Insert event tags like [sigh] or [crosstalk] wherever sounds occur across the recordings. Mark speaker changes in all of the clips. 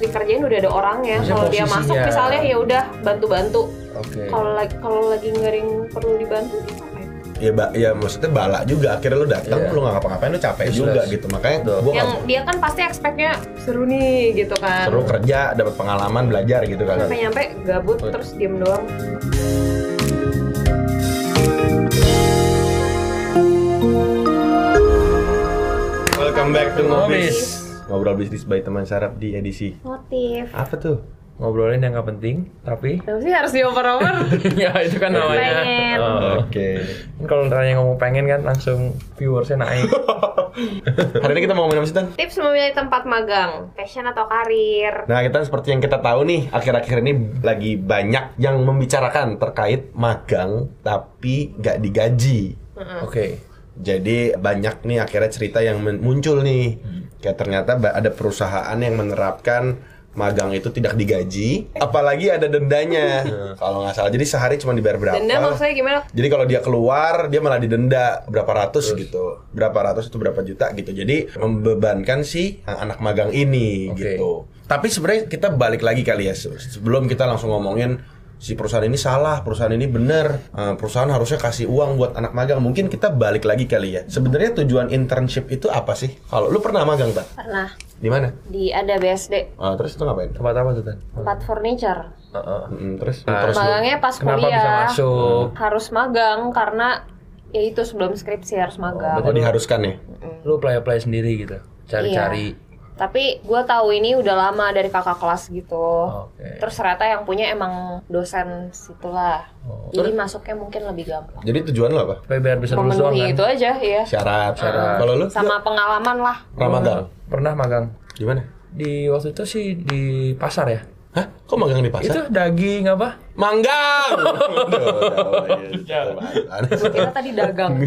Speaker 1: dikerjain udah ada orangnya.
Speaker 2: Maksudnya
Speaker 1: Kalau dia
Speaker 2: posisinya. Iya.
Speaker 1: masuk misalnya ya udah bantu-bantu.
Speaker 2: Oke.
Speaker 1: Kalau lagi kalau lagi ngering perlu dibantu dia ngapain?
Speaker 3: ya, ba- ya maksudnya bala juga akhirnya lu datang
Speaker 2: Iya.
Speaker 3: lu nggak ngapa-ngapain lu capek
Speaker 2: Useless.
Speaker 3: juga gitu makanya
Speaker 2: Betul.
Speaker 3: gua
Speaker 1: Yang
Speaker 3: nggak-
Speaker 1: dia kan pasti expect-nya seru nih gitu kan.
Speaker 3: seru kerja dapat pengalaman belajar gitu kan
Speaker 1: Nyampe-nyampe gabut
Speaker 2: Hmm.
Speaker 1: terus diem doang.
Speaker 3: welcome back to
Speaker 2: Ngobis.
Speaker 3: ngobrol bisnis by teman sarap di edisi
Speaker 1: Motif.
Speaker 3: apa tuh
Speaker 2: Ngobrolin yang gak penting,
Speaker 1: [laughs]
Speaker 2: tapi
Speaker 1: Tapi sih harus
Speaker 2: [laughs]
Speaker 1: dioper-oper.
Speaker 2: ya itu kan namanya.
Speaker 1: Pengen.
Speaker 2: Oh. Kan Kalau tanya ngomong pengen kan langsung
Speaker 1: [laughs]
Speaker 2: viewersnya naik.
Speaker 3: [laughs] hari ini kita mau ngomongin apa sih Tan?
Speaker 1: Tips memilih tempat magang, passion atau karir.
Speaker 3: Nah, kita seperti yang kita tahu nih, akhir-akhir ini lagi banyak yang membicarakan terkait magang tapi nggak digaji.
Speaker 2: Oke.
Speaker 3: Jadi banyak nih akhirnya cerita yang men- muncul nih. Kayak ternyata ba- ada perusahaan yang menerapkan magang itu tidak digaji, apalagi ada dendanya. kalau nggak salah, jadi sehari cuma dibayar berapa?
Speaker 1: Denda maksudnya gimana?
Speaker 3: Jadi kalau dia keluar, dia malah didenda berapa ratus gitu. Berapa ratus itu berapa juta gitu. Jadi membebankan si anak magang ini
Speaker 2: Oke.
Speaker 3: gitu. Tapi sebenarnya kita balik lagi kali ya. Se- Sebelum kita langsung ngomongin si perusahaan ini salah, perusahaan ini benar, eh, perusahaan harusnya kasih uang buat anak magang. Mungkin kita balik lagi kali ya. Sebenarnya tujuan internship itu apa sih? Kalau lu pernah magang, tak?
Speaker 1: Pernah
Speaker 3: Di mana?
Speaker 1: di ada BSD
Speaker 3: Ah, terus itu ngapain?
Speaker 2: Tempat apa tuh Tan?
Speaker 1: tempat furniture.
Speaker 2: Heeh.
Speaker 3: Mm, terus
Speaker 2: Ah.
Speaker 3: terus lu-
Speaker 1: Magangnya pas
Speaker 2: Kenapa
Speaker 1: kuliah.
Speaker 2: bisa masuk?
Speaker 1: Harus magang karena ya itu sebelum skripsi harus magang.
Speaker 3: Oh, diharuskan ya?
Speaker 2: Lu play-play sendiri gitu. Cari-cari.
Speaker 1: Iya. Tapi gue tahu ini udah lama dari kakak kelas gitu.
Speaker 2: Oke.
Speaker 1: Terus ternyata yang punya emang dosen situlah. Jadi masuknya mungkin lebih gampang.
Speaker 3: Jadi tujuan lo apa?
Speaker 2: Supaya biar Oh, bisa lulus doang
Speaker 1: Memenuhi
Speaker 2: kan.
Speaker 1: itu aja ya.
Speaker 3: Syarat, syarat. Kalau lu?
Speaker 1: Sama pengalaman lah.
Speaker 3: Ramadan.
Speaker 2: Pernah magang.
Speaker 3: Di mana?
Speaker 2: Di waktu itu sih di pasar ya.
Speaker 3: Hah? Kok magang di
Speaker 2: Itu
Speaker 3: pasar?
Speaker 2: daging apa? [laughs]
Speaker 3: Manggang. Ya.
Speaker 1: Kita
Speaker 2: [laughs]
Speaker 1: tadi dagang.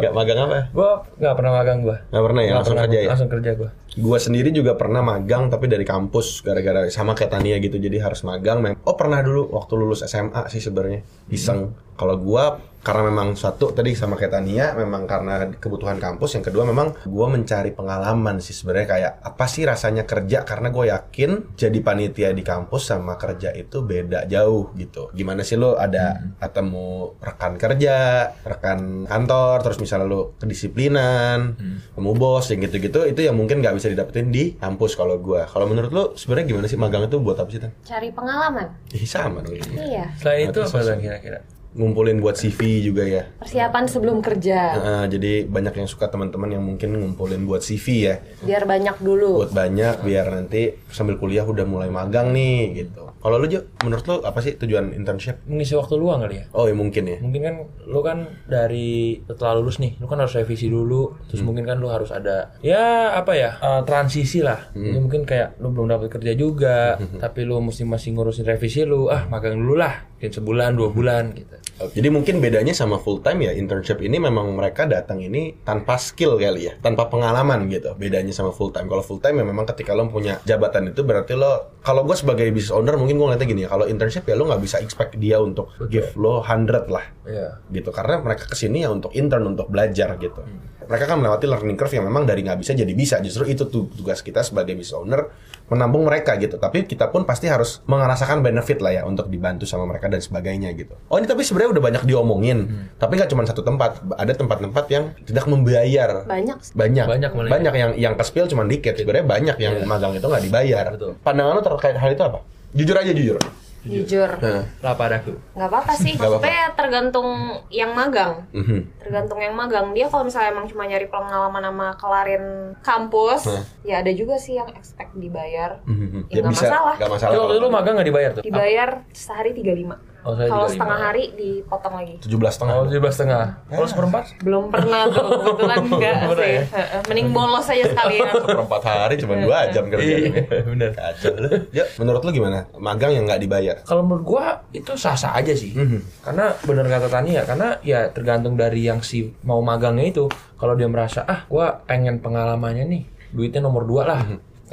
Speaker 3: Gak magang apa? ya?
Speaker 2: Gua nggak pernah magang gua.
Speaker 3: Gak pernah ya
Speaker 2: Nggak
Speaker 3: langsung
Speaker 2: pernah,
Speaker 3: kerja ya.
Speaker 2: Langsung kerja gua.
Speaker 3: Gua sendiri juga pernah magang tapi dari kampus gara-gara sama kayak Tania gitu jadi harus magang. mem- Oh pernah dulu waktu lulus SMA sih sebenarnya iseng. Kalau gua karena memang satu tadi sama kayak Tania memang karena kebutuhan kampus yang kedua memang gua mencari pengalaman sih sebenarnya kayak apa sih rasanya kerja karena gue yakin jadi panitia di kampus sama kerja itu beda jauh gitu gimana sih lo ada ketemu rekan kerja rekan kantor terus misalnya lo kedisiplinan ketemu bos yang gitu-gitu itu yang mungkin nggak bisa didapetin di kampus kalau gua kalau menurut lo sebenarnya gimana sih magang itu buat apa sih Tan?
Speaker 1: Cari pengalaman.
Speaker 3: Ih, sama dong ini.
Speaker 1: Iya.
Speaker 2: Selain itu apa Tan, kira-kira?
Speaker 3: ngumpulin buat CV juga ya
Speaker 1: Persiapan sebelum
Speaker 2: Iya.
Speaker 1: kerja.
Speaker 3: Heeh, jadi banyak yang suka teman-teman yang mungkin ngumpulin buat CV ya
Speaker 1: Biar banyak dulu.
Speaker 3: buat banyak biar nanti sambil kuliah udah mulai magang nih gitu. Kalau lu Jo, menurut lu apa sih tujuan internship?
Speaker 2: Mengisi waktu luang kali ya.
Speaker 3: Oh ya mungkin ya.
Speaker 2: Mungkin kan lu kan dari setelah lulus nih, lu kan harus revisi dulu. Terus mungkin kan lu harus ada ya apa ya eh, transisi lah. Jadi mungkin kayak lu belum dapat kerja juga, tapi lu mesti masih ngurusin revisi lu. Ah magang dulu lah, mungkin sebulan dua bulan gitu.
Speaker 3: Jadi mungkin bedanya sama full time ya internship ini memang mereka datang ini tanpa skill kali ya, tanpa pengalaman gitu. Bedanya sama full time. Kalau full time ya memang ketika lo punya jabatan itu berarti lo kalau gue sebagai business owner mungkin gue ngeliatnya gini ya, kalau internship ya lo nggak bisa expect dia untuk give lo 100 lah.
Speaker 2: Iya.
Speaker 3: gitu karena mereka kesini ya untuk intern untuk belajar gitu
Speaker 2: Hmm.
Speaker 3: mereka kan melewati learning curve yang memang dari nggak bisa jadi bisa justru itu tuh tugas kita sebagai business owner menampung mereka gitu tapi kita pun pasti harus merasakan benefit lah ya untuk dibantu sama mereka dan sebagainya gitu oh ini tapi sebenarnya udah banyak diomongin
Speaker 2: Hmm.
Speaker 3: tapi nggak cuma satu tempat ada tempat-tempat yang tidak membayar
Speaker 1: Banyak sih.
Speaker 3: banyak
Speaker 2: Banyak malah ya.
Speaker 3: banyak yang yang kespil cuma dikit sebenarnya banyak yang magang itu nggak dibayar
Speaker 2: Betul.
Speaker 3: pandangan lu terkait hal itu apa jujur aja jujur
Speaker 2: Iya.
Speaker 1: Jujur.
Speaker 3: nah.
Speaker 2: Lah padaku.
Speaker 1: nggak apa-apa sih
Speaker 3: Nggak apa-apa.
Speaker 1: maksudnya tergantung yang magang
Speaker 3: mhm.
Speaker 1: tergantung yang magang dia kalau misalnya emang cuma nyari pengalaman sama kelarin kampus
Speaker 3: Hah.
Speaker 1: ya ada juga sih yang expect dibayar
Speaker 3: Mhm.
Speaker 1: ya nggak masalah
Speaker 3: nggak masalah
Speaker 2: Tapi waktu itu lu magang nggak dibayar tuh?
Speaker 1: dibayar sehari 35
Speaker 2: Oh, saya
Speaker 1: kalau
Speaker 2: 35.
Speaker 1: setengah hari dipotong lagi
Speaker 3: Oh, tujuh belas setengah
Speaker 2: Kalau tujuh belas Oh, setengah. Kalau seperempat?
Speaker 1: belum pernah tuh
Speaker 2: [laughs]
Speaker 1: kebetulan enggak
Speaker 2: Belum pernah
Speaker 1: sih
Speaker 2: ya?
Speaker 1: Heeh, mending bolos aja
Speaker 3: [laughs]
Speaker 1: sekalian
Speaker 3: perempat hari cuma dua jam kerjanya
Speaker 2: bener.
Speaker 3: kacau lu ya menurut lu gimana magang yang nggak dibayar
Speaker 2: Kalau menurut gua itu sah-sah aja sih.
Speaker 3: Mhm.
Speaker 2: Karena bener kata Tani ya, karena ya tergantung dari yang si
Speaker 3: Mhm.
Speaker 2: mau magangnya itu. Kalau dia merasa ah gua pengen pengalamannya nih, duitnya nomor dua lah.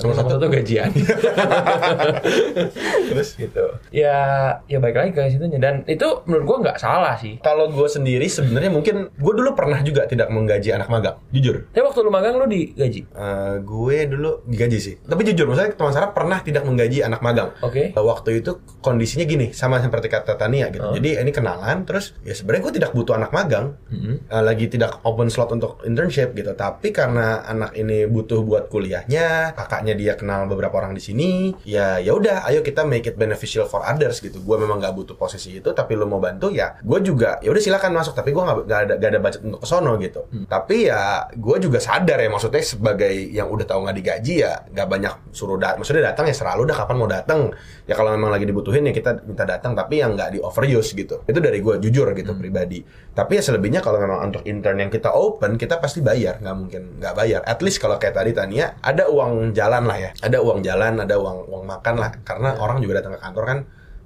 Speaker 2: Nomor satu tuh gajian.
Speaker 3: [laughs] terus gitu
Speaker 2: ya ya baik lagi ke situnya dan itu menurut gua nggak salah sih.
Speaker 3: kalau gue sendiri sebenarnya mungkin gue dulu pernah juga tidak menggaji anak magang jujur
Speaker 2: Tapi waktu lu magang lu digaji.
Speaker 3: Eh, gue dulu digaji sih. Tapi jujur, maksudnya teman Sarah pernah tidak menggaji anak magang.
Speaker 2: Oke.
Speaker 3: Eh, Waktu itu kondisinya gini, sama seperti kata Tania gitu. Jadi ini kenalan, terus ya sebenarnya gue tidak butuh anak magang, Eh, lagi tidak open slot untuk internship gitu. Tapi karena anak ini butuh buat kuliahnya, kakaknya dia kenal beberapa orang di sini, ya ya udah, ayo kita make it beneficial for others gitu. Gue memang nggak butuh posisi itu, tapi lo mau bantu ya, gue juga ya udah silakan masuk. Tapi gue nggak nggak ada nggak ada budget untuk kesono gitu. Tapi ya gue juga sadar ya maksudnya sebagai yang udah tahu nggak digaji ya nggak banyak suruh datang. Maksudnya datang ya selalu udah kapan mau datang. Ya kalau memang lagi dibutuhin ya kita minta datang tapi yang nggak di overuse gitu. Itu dari gue jujur gitu pribadi. Tapi ya selebihnya kalau memang untuk intern yang kita open kita pasti bayar nggak mungkin nggak bayar. At least kalau kayak tadi Tania ada uang jalan lah ya. Ada uang jalan, ada uang uang makan lah. Karena orang juga datang ke kantor kan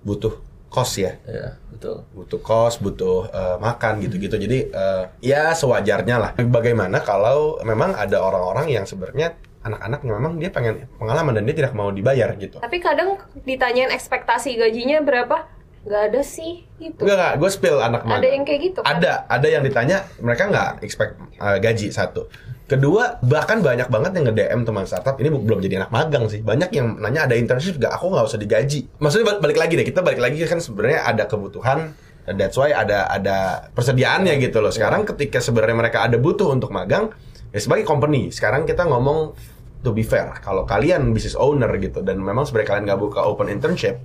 Speaker 3: butuh kos ya
Speaker 2: Ya, betul.
Speaker 3: butuh kos, butuh eh, makan gitu-gitu. Jadi eh, ya sewajarnya lah. Bagaimana kalau memang ada orang-orang yang sebenarnya anak-anak yang memang dia pengen pengalaman dan dia tidak mau dibayar gitu.
Speaker 1: Tapi kadang ditanyain ekspektasi gajinya berapa? Gak ada sih gitu.
Speaker 3: Enggak enggak, gue spill anak
Speaker 1: Ada
Speaker 3: magang.
Speaker 1: yang kayak gitu kan?
Speaker 3: Ada, ada yang ditanya mereka nggak expect eh, gaji satu. Kedua, bahkan banyak banget yang nge-DM teman startup ini bu- belum jadi anak magang sih. Banyak yang nanya ada internship nggak? Aku nggak usah digaji. Maksudnya bal- balik lagi deh, kita balik lagi kan sebenarnya ada kebutuhan and that's why ada ada persediaannya gitu loh. Sekarang ketika sebenarnya mereka ada butuh untuk magang, ya sebagai company, sekarang kita ngomong to be fair, kalau kalian business owner gitu dan memang sebenarnya kalian nggak buka open internship,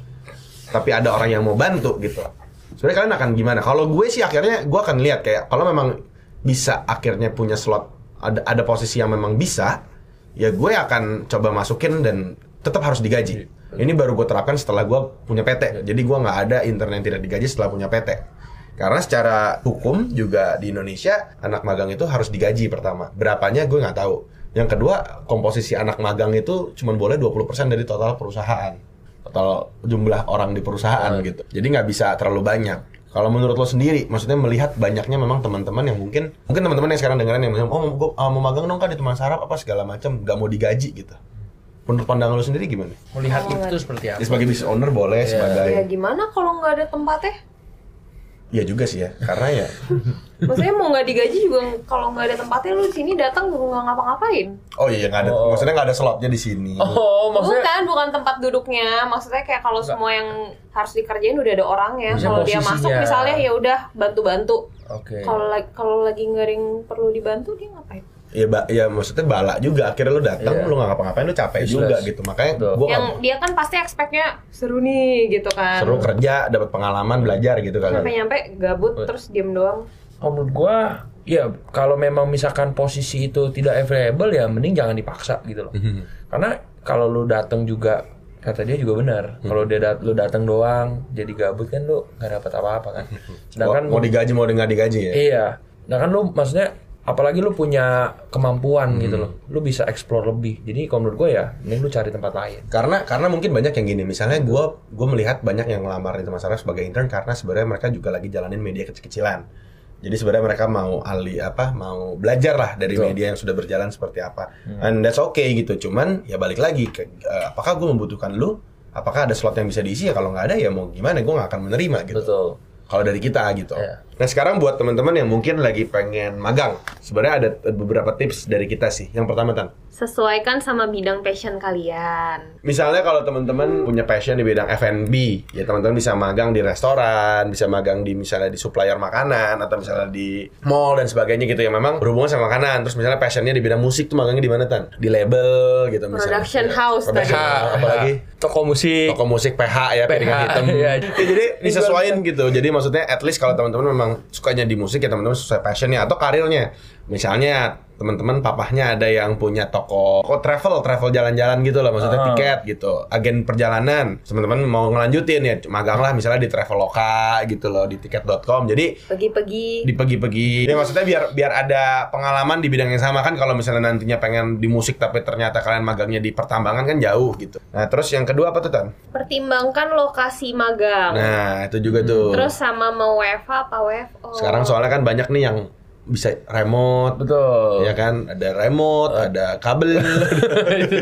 Speaker 3: tapi ada orang yang mau bantu gitu. Sebenarnya kalian akan gimana? Kalau gue sih akhirnya gue akan lihat kayak kalau memang bisa akhirnya punya slot ada ada posisi yang memang bisa, ya gue akan coba masukin dan tetap harus digaji. Ini baru gue terapkan setelah gue punya PT. Jadi gue nggak ada intern yang tidak digaji setelah punya PT. Karena secara hukum juga di Indonesia anak magang itu harus digaji pertama. Berapanya gue nggak tahu. Yang kedua, komposisi anak magang itu cuma boleh 20% dari total perusahaan. Total jumlah orang di perusahaan gitu. Jadi nggak bisa terlalu banyak. Kalau menurut lo sendiri, maksudnya melihat banyaknya memang teman-teman yang mungkin mungkin teman-teman yang sekarang dengerin yang bilang, "Oh, gue mau magang dong kan di teman sarap apa segala macam, nggak mau digaji gitu." Menurut pandangan lo sendiri gimana?
Speaker 2: Melihat
Speaker 1: Oh,
Speaker 2: itu seperti apa?
Speaker 3: Ya, sebagai business owner boleh, sebagai
Speaker 1: Ya gimana kalau nggak ada tempatnya?
Speaker 3: Iya juga sih ya, karena [laughs] ya
Speaker 1: Maksudnya mau nggak digaji juga kalau nggak ada tempatnya lu di sini datang lu nggak ngapa-ngapain.
Speaker 3: Oh iya nggak ada,
Speaker 2: Oh.
Speaker 3: maksudnya nggak ada slotnya di sini.
Speaker 2: Oh, maksudnya
Speaker 1: Bukan, bukan tempat duduknya. Maksudnya kayak kalau semua yang harus dikerjain udah ada orangnya.
Speaker 2: Hmm.
Speaker 1: Kalau dia
Speaker 2: Posisinya.
Speaker 1: masuk misalnya ya udah bantu-bantu.
Speaker 3: Iya.
Speaker 2: Oke.
Speaker 1: Kalau lagi kalau lagi nggak ada yang perlu dibantu dia ngapain?
Speaker 3: Ya, ba- ya maksudnya bala juga akhirnya lu datang
Speaker 2: Iya.
Speaker 3: lu nggak ngapa-ngapain lu capek
Speaker 2: Useless.
Speaker 3: juga gitu makanya
Speaker 2: Betul.
Speaker 3: gua
Speaker 1: yang
Speaker 3: nggak
Speaker 1: dia kan pasti expect-nya seru nih gitu kan.
Speaker 3: seru kerja dapat pengalaman belajar gitu kan
Speaker 1: Nyampe-nyampe gabut terus diem doang.
Speaker 2: Kalau menurut gua ya kalau memang misalkan posisi itu tidak available ya mending jangan dipaksa gitu loh.
Speaker 3: Mhm.
Speaker 2: Karena kalau lu datang juga kata dia juga benar.
Speaker 3: Mhm.
Speaker 2: Kalau dia dat lu datang doang jadi gabut kan lu nggak dapat apa-apa kan. Sedangkan
Speaker 3: Mhm. mau, mau digaji mau nggak digaji ya
Speaker 2: Iya. Nah kan lu maksudnya apalagi lu punya kemampuan
Speaker 3: Mhm.
Speaker 2: gitu loh. Lu bisa explore lebih. Jadi kalau menurut gua ya mending lu cari tempat lain.
Speaker 3: karena karena mungkin banyak yang gini misalnya gua gua melihat banyak yang ngelamar di teman saraf sebagai intern karena sebenarnya mereka juga lagi jalanin media kecil-kecilan jadi sebenarnya mereka mau ahli apa mau belajar lah dari media yang sudah berjalan seperti apa
Speaker 2: Hmm.
Speaker 3: and that's okay gitu cuman ya balik lagi ke, eh, apakah gue membutuhkan lu apakah ada slot yang bisa diisi ya kalau nggak ada ya mau gimana gue nggak akan menerima gitu
Speaker 2: Betul.
Speaker 3: kalau dari kita gitu.
Speaker 2: Iya.
Speaker 3: Nah sekarang buat teman-teman yang mungkin lagi pengen magang, sebenarnya ada t- beberapa tips dari kita sih. Yang pertama tan,
Speaker 1: Sesuaikan sama bidang passion kalian.
Speaker 3: misalnya kalau teman-teman punya passion di bidang F&B, ya teman-teman bisa magang di restoran, bisa magang di misalnya di supplier makanan atau misalnya di mall dan sebagainya gitu yang memang berhubungan sama makanan. Terus misalnya passionnya di bidang musik tuh magangnya di mana tan? Di label gitu misalnya.
Speaker 1: Production house tadi.
Speaker 3: Production house, apalagi
Speaker 2: Iya, toko musik.
Speaker 3: toko musik PH ya piringan hitam
Speaker 2: iya.
Speaker 3: ya, jadi
Speaker 2: [laughs]
Speaker 3: disesuaikan gitu jadi maksudnya at least kalau teman-teman memang sukanya di musik ya teman-teman sesuai passionnya atau karirnya misalnya teman-teman papahnya ada yang punya toko toko travel travel jalan-jalan gitu loh maksudnya
Speaker 2: Ah.
Speaker 3: tiket gitu agen perjalanan teman-teman mau ngelanjutin ya magang lah misalnya di traveloka gitu loh di tiket.com jadi
Speaker 1: Pergi-pergi.
Speaker 3: di pagi-pagi. Ya maksudnya biar biar ada pengalaman di bidang yang sama kan kalau misalnya nantinya pengen di musik tapi ternyata kalian magangnya di pertambangan kan jauh gitu. Nah, terus yang kedua apa tuh, Tan?
Speaker 1: Pertimbangkan lokasi magang.
Speaker 3: Nah, itu juga tuh.
Speaker 1: Terus sama mau WFH apa WFO.
Speaker 3: Sekarang soalnya kan banyak nih yang bisa remote
Speaker 2: Betul. [laughs]
Speaker 3: ya kan ada remote ada kabel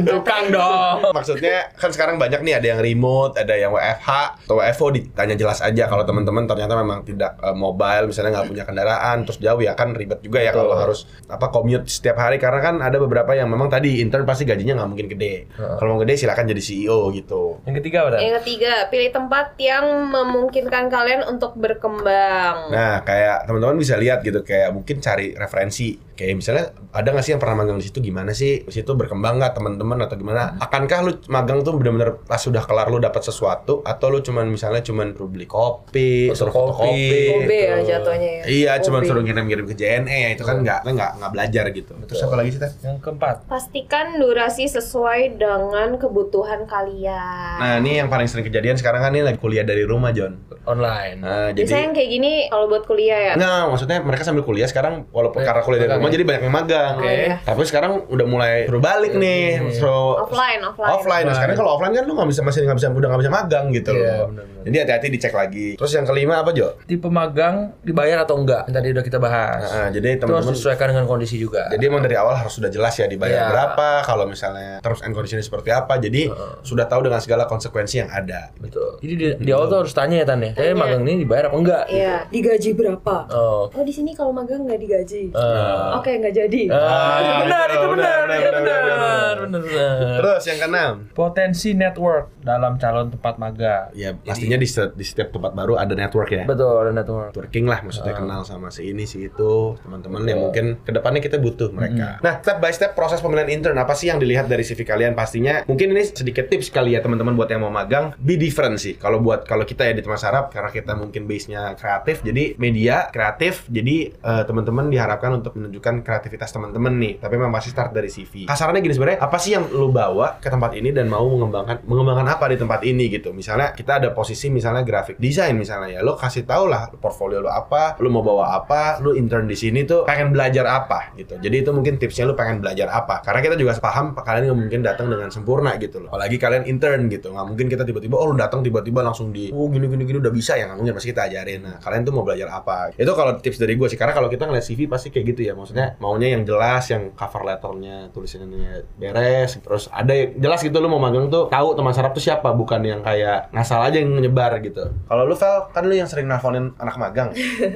Speaker 2: Tukang dong.
Speaker 3: maksudnya kan sekarang banyak nih ada yang remote ada yang WFH atau WFO ditanya jelas aja kalau teman-teman ternyata memang tidak eh, mobile misalnya nggak punya kendaraan terus jauh ya kan ribet juga ya kalau harus apa commute setiap hari karena kan ada beberapa yang memang tadi intern pasti gajinya nggak mungkin gede kalau mau gede silakan jadi CEO gitu
Speaker 2: Yang ketiga apa? Dan?
Speaker 1: Yang ketiga, pilih tempat yang memungkinkan kalian untuk berkembang.
Speaker 3: Nah, kayak teman-teman bisa lihat gitu, kayak mungkin cari referensi. Kayak misalnya ada nggak sih yang pernah magang di situ gimana sih? Di situ berkembang nggak teman-teman atau gimana? Akankah lu magang tuh benar-benar pas sudah kelar lu dapat sesuatu atau lu cuman misalnya cuman perlu beli kopi, suruh
Speaker 2: Fotokopi.
Speaker 3: fotokopi.
Speaker 1: OB ya
Speaker 2: Betul.
Speaker 1: jatuhnya ya.
Speaker 3: Iya,
Speaker 1: OB.
Speaker 3: cuman suruh ngirim-ngirim ke JNE ya itu kan nggak nggak nggak belajar gitu. Terus apa lagi sih teh?
Speaker 2: Yang keempat.
Speaker 1: Pastikan durasi sesuai dengan kebutuhan kalian.
Speaker 3: Nah, ini yang paling sering kejadian sekarang kan ini lagi kuliah dari rumah, John.
Speaker 2: Online.
Speaker 3: Nah,
Speaker 1: Biasanya
Speaker 3: jadi
Speaker 1: yang kayak gini kalau buat kuliah ya.
Speaker 3: Nah, maksudnya mereka sambil kuliah sekarang
Speaker 2: Eh,
Speaker 3: walaupun karena kuliah dari
Speaker 2: magang
Speaker 3: rumah
Speaker 2: ya?
Speaker 3: jadi banyak yang magang.
Speaker 1: Oh, iya.
Speaker 3: Tapi sekarang udah mulai suruh balik nih,
Speaker 2: Hmm.
Speaker 3: suruh
Speaker 1: Offline, offline.
Speaker 3: oh, offline. Nah, sekarang kalau offline kan lu nggak bisa masih nggak bisa udah nggak bisa magang gitu
Speaker 2: Iya,
Speaker 3: loh.
Speaker 2: benar-benar.
Speaker 3: Jadi hati-hati dicek lagi. Terus yang kelima apa Jo?
Speaker 2: Tipe magang dibayar atau enggak? Yang tadi udah kita bahas.
Speaker 3: Nah, jadi
Speaker 2: Itu harus
Speaker 3: teman-teman
Speaker 2: disesuaikan dengan kondisi juga.
Speaker 3: jadi emang dari awal harus sudah jelas ya
Speaker 2: Iya.
Speaker 3: dibayar berapa, kalau misalnya terus and conditionnya seperti apa. Jadi sudah tahu dengan segala konsekuensi yang ada.
Speaker 2: Betul. Jadi di, di awal tuh harus tanya ya Tan ya. Saya magang ini dibayar apa enggak?
Speaker 1: Iya. Digaji berapa?
Speaker 2: Oh.
Speaker 1: Oh, di sini kalau magang nggak digaji.
Speaker 2: Eh.
Speaker 1: Oke, nggak jadi.
Speaker 3: Nah,
Speaker 2: Ah, itu benar,
Speaker 3: betul,
Speaker 2: itu
Speaker 3: benar,
Speaker 2: benar, itu
Speaker 3: benar, benar,
Speaker 2: benar,
Speaker 3: benar.
Speaker 2: benar, benar.
Speaker 3: nah, Terus yang keenam,
Speaker 2: Potensi network dalam calon tempat magang.
Speaker 3: ya pastinya di, setiap- di setiap tempat baru ada network ya.
Speaker 2: Betul, ada network.
Speaker 3: networking lah maksudnya kenal sama si ini si itu teman-teman yang mungkin kedepannya kita butuh mereka. Nah step by step proses pemilihan intern apa sih yang dilihat dari CV kalian pastinya mungkin ini sedikit tips kali ya teman-teman buat yang mau magang be different sih kalau buat kalau kita ya di Teman Sarap karena kita mungkin base nya kreatif jadi media kreatif jadi eh, teman-teman diharapkan untuk menunjukkan kreativitas teman-teman nih tapi memang pasti start dari CV. Kasarannya gini sebenarnya apa sih yang lu bawa ke tempat ini dan mau mengembangkan mengembangkan apa di tempat ini gitu misalnya kita ada posisi misalnya graphic design misalnya ya lo kasih tau lah portfolio lo apa lo mau bawa apa lo intern di sini tuh pengen belajar apa gitu jadi itu mungkin tipsnya lo pengen belajar apa karena kita juga paham kalian nggak mungkin datang dengan sempurna gitu loh apalagi kalian intern gitu nggak mungkin kita tiba-tiba oh lo datang tiba-tiba langsung di oh gini gini gini udah bisa ya nggak mungkin pasti kita ajarin nah kalian tuh mau belajar apa itu kalau tips dari gue sih karena kalau kita ngeliat CV pasti kayak gitu ya maksudnya maunya yang jelas yang cover letternya tulisannya beres terus ada yang jelas gitu lu mau magang tuh tahu teman sarap tuh siapa bukan yang kayak ngasal aja yang nyebar gitu kalau lu Val kan lu yang sering nelfonin anak magang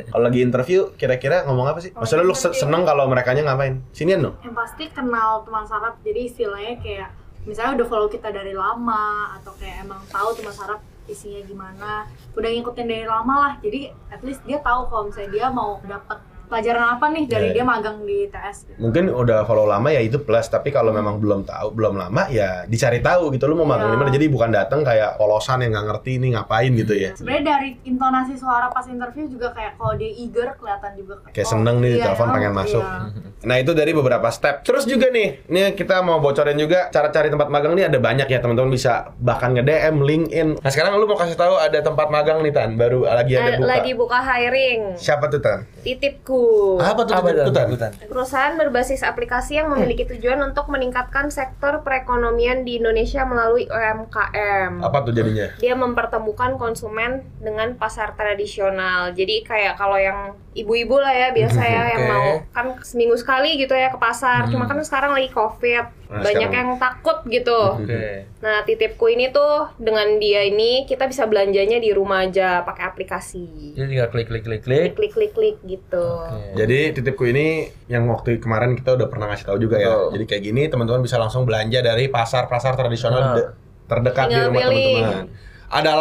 Speaker 3: kalau lagi interview kira-kira ngomong apa sih
Speaker 4: Oh,
Speaker 3: maksudnya lu se- seneng kalau mereka ngapain sinian dong
Speaker 4: yang pasti kenal teman sarap jadi istilahnya kayak misalnya udah follow kita dari lama atau kayak emang tahu teman sarap isinya gimana udah ngikutin dari lama lah jadi at least dia tahu kalau misalnya dia mau dapat pelajaran apa nih dari
Speaker 3: Iya, iya.
Speaker 4: dia magang di TS gitu.
Speaker 3: mungkin udah follow lama ya itu plus tapi kalau memang belum tahu belum lama ya dicari tahu gitu lu mau magang
Speaker 4: Hmm. Ya.
Speaker 3: di mana jadi bukan datang kayak polosan yang nggak ngerti ini ngapain gitu ya
Speaker 4: sebenarnya dari intonasi suara pas interview juga kayak kalau dia eager kelihatan juga
Speaker 3: Kayak
Speaker 4: oh,
Speaker 3: seneng nih di
Speaker 4: iya,
Speaker 3: telepon
Speaker 4: emang,
Speaker 3: pengen masuk.
Speaker 4: iya.
Speaker 3: Nah itu dari beberapa step. Terus juga nih, ini kita mau bocorin juga cara cari tempat magang nih ada banyak ya teman-teman bisa bahkan nge DM, LinkedIn. Nah sekarang lu mau kasih tahu ada tempat magang nih Tan, baru lagi Iya, ada
Speaker 1: Eh,
Speaker 3: buka.
Speaker 1: Lagi buka hiring.
Speaker 3: Siapa tuh Tan?
Speaker 1: Titipku.
Speaker 3: Apa tuh
Speaker 2: Apa
Speaker 3: itu,
Speaker 2: itu?
Speaker 3: Tan?
Speaker 2: Tan?
Speaker 1: Perusahaan berbasis aplikasi yang memiliki tujuan untuk meningkatkan sektor perekonomian di Indonesia melalui UMKM.
Speaker 3: Apa tuh jadinya?
Speaker 1: Dia mempertemukan konsumen dengan pasar tradisional. Jadi kayak kalau yang ibu-ibu lah ya biasa
Speaker 3: [laughs]
Speaker 1: ya yang
Speaker 2: Oke.
Speaker 1: mau kan seminggu sekali gitu ya ke pasar.
Speaker 2: Hmm.
Speaker 1: Cuma kan sekarang lagi COVID,
Speaker 3: Nah,
Speaker 1: banyak
Speaker 3: sekarang- Hmm.
Speaker 1: yang takut gitu.
Speaker 2: Oke.
Speaker 1: Nah, titipku ini tuh dengan dia ini kita bisa belanjanya di rumah aja pakai aplikasi.
Speaker 2: Jadi tinggal klik klik klik klik.
Speaker 1: Klik klik klik gitu.
Speaker 2: Oke.
Speaker 3: Jadi titipku ini yang waktu kemarin kita udah pernah ngasih tahu juga ya.
Speaker 2: Betul.
Speaker 3: Jadi kayak gini teman-teman bisa langsung belanja dari pasar-pasar tradisional
Speaker 2: Nah.
Speaker 3: de- terdekat di
Speaker 1: Tinggal
Speaker 3: rumah
Speaker 1: pilih.
Speaker 3: teman-teman. Ada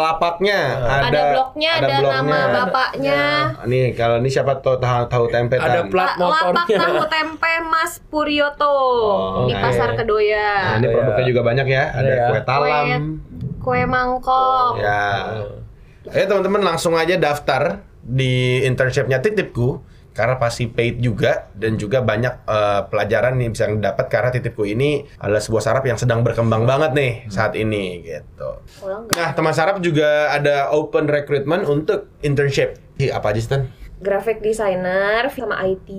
Speaker 2: Nah.
Speaker 3: lapaknya, ada,
Speaker 1: Ada, blognya, ada, nama
Speaker 3: blognya. Iya.
Speaker 1: bapaknya.
Speaker 3: Nih kalau ini siapa tahu tahu, tahu tempe
Speaker 2: Ada
Speaker 3: Tan?
Speaker 2: plat
Speaker 1: La- Lapak tahu
Speaker 2: motornya.
Speaker 1: tempe Mas Puryoto
Speaker 3: Oh,
Speaker 1: di
Speaker 3: oke.
Speaker 1: Pasar
Speaker 3: Nah,
Speaker 1: Kedoya.
Speaker 2: Ada
Speaker 3: ini produknya
Speaker 2: ya.
Speaker 3: juga banyak ya. Ada
Speaker 2: Ada ya.
Speaker 3: kue talam.
Speaker 1: Kue mangkok.
Speaker 3: Ya. Ayo teman-teman langsung aja daftar di internshipnya Titipku karena pasti paid juga dan juga banyak eh, pelajaran yang bisa didapat karena Titipku ini adalah sebuah sarap yang sedang berkembang banget nih saat ini gitu.
Speaker 1: Pulang nggak?
Speaker 3: Nah, teman sarap juga ada open recruitment untuk internship. Ih, apa aja sih, Tan?
Speaker 1: Graphic designer sama IT.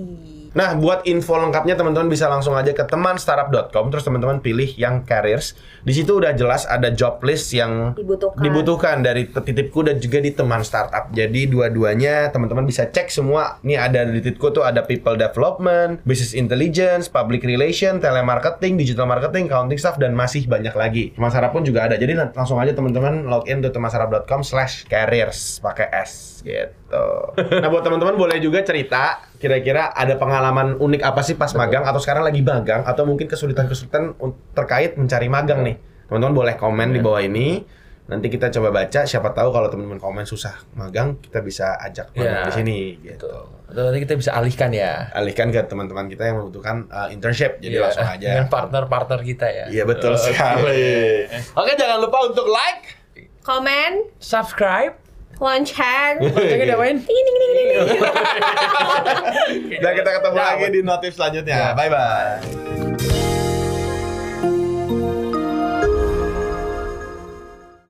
Speaker 3: Nah, buat info lengkapnya teman-teman bisa langsung aja ke temanstartup.com terus teman-teman pilih yang careers. Di situ udah jelas ada job list yang
Speaker 1: Dibutuhkan.
Speaker 3: dibutuhkan dari titipku dan juga di teman startup. Jadi dua-duanya teman-teman bisa cek semua. Ini ada di titipku tuh ada people development, business intelligence, public relation, telemarketing, digital marketing, accounting staff dan masih banyak lagi. Teman startup pun juga ada. Jadi lang- langsung aja teman-teman login ke temanstartup.com slash careers pakai S gitu. Nah buat teman-teman boleh juga cerita kira-kira ada pengalaman unik apa sih pas magang atau sekarang lagi magang atau mungkin kesulitan-kesulitan un- terkait mencari magang nih. Teman-teman boleh komen di bawah ini. Nanti kita coba baca siapa tahu kalau teman-teman komen susah magang kita bisa ajak magang
Speaker 2: Ya,
Speaker 3: di sini gitu.
Speaker 2: Gitu. Atau nanti kita bisa alihkan ya.
Speaker 3: Alihkan ke teman-teman kita yang membutuhkan uh, internship. Jadi
Speaker 2: Iya,
Speaker 3: langsung aja.
Speaker 2: Dengan partner-partner kita ya.
Speaker 3: Iya
Speaker 2: [laughs]
Speaker 3: betul sekali. Oke jangan lupa untuk like.
Speaker 1: Comment,
Speaker 2: Subscribe.
Speaker 1: [laughs] launch hand.
Speaker 3: Loncengnya diapain?
Speaker 1: Ting, ting, ting, ting, ting.
Speaker 2: Iya.
Speaker 3: Dan kita ketemu lagi di notif selanjutnya. Bye bye.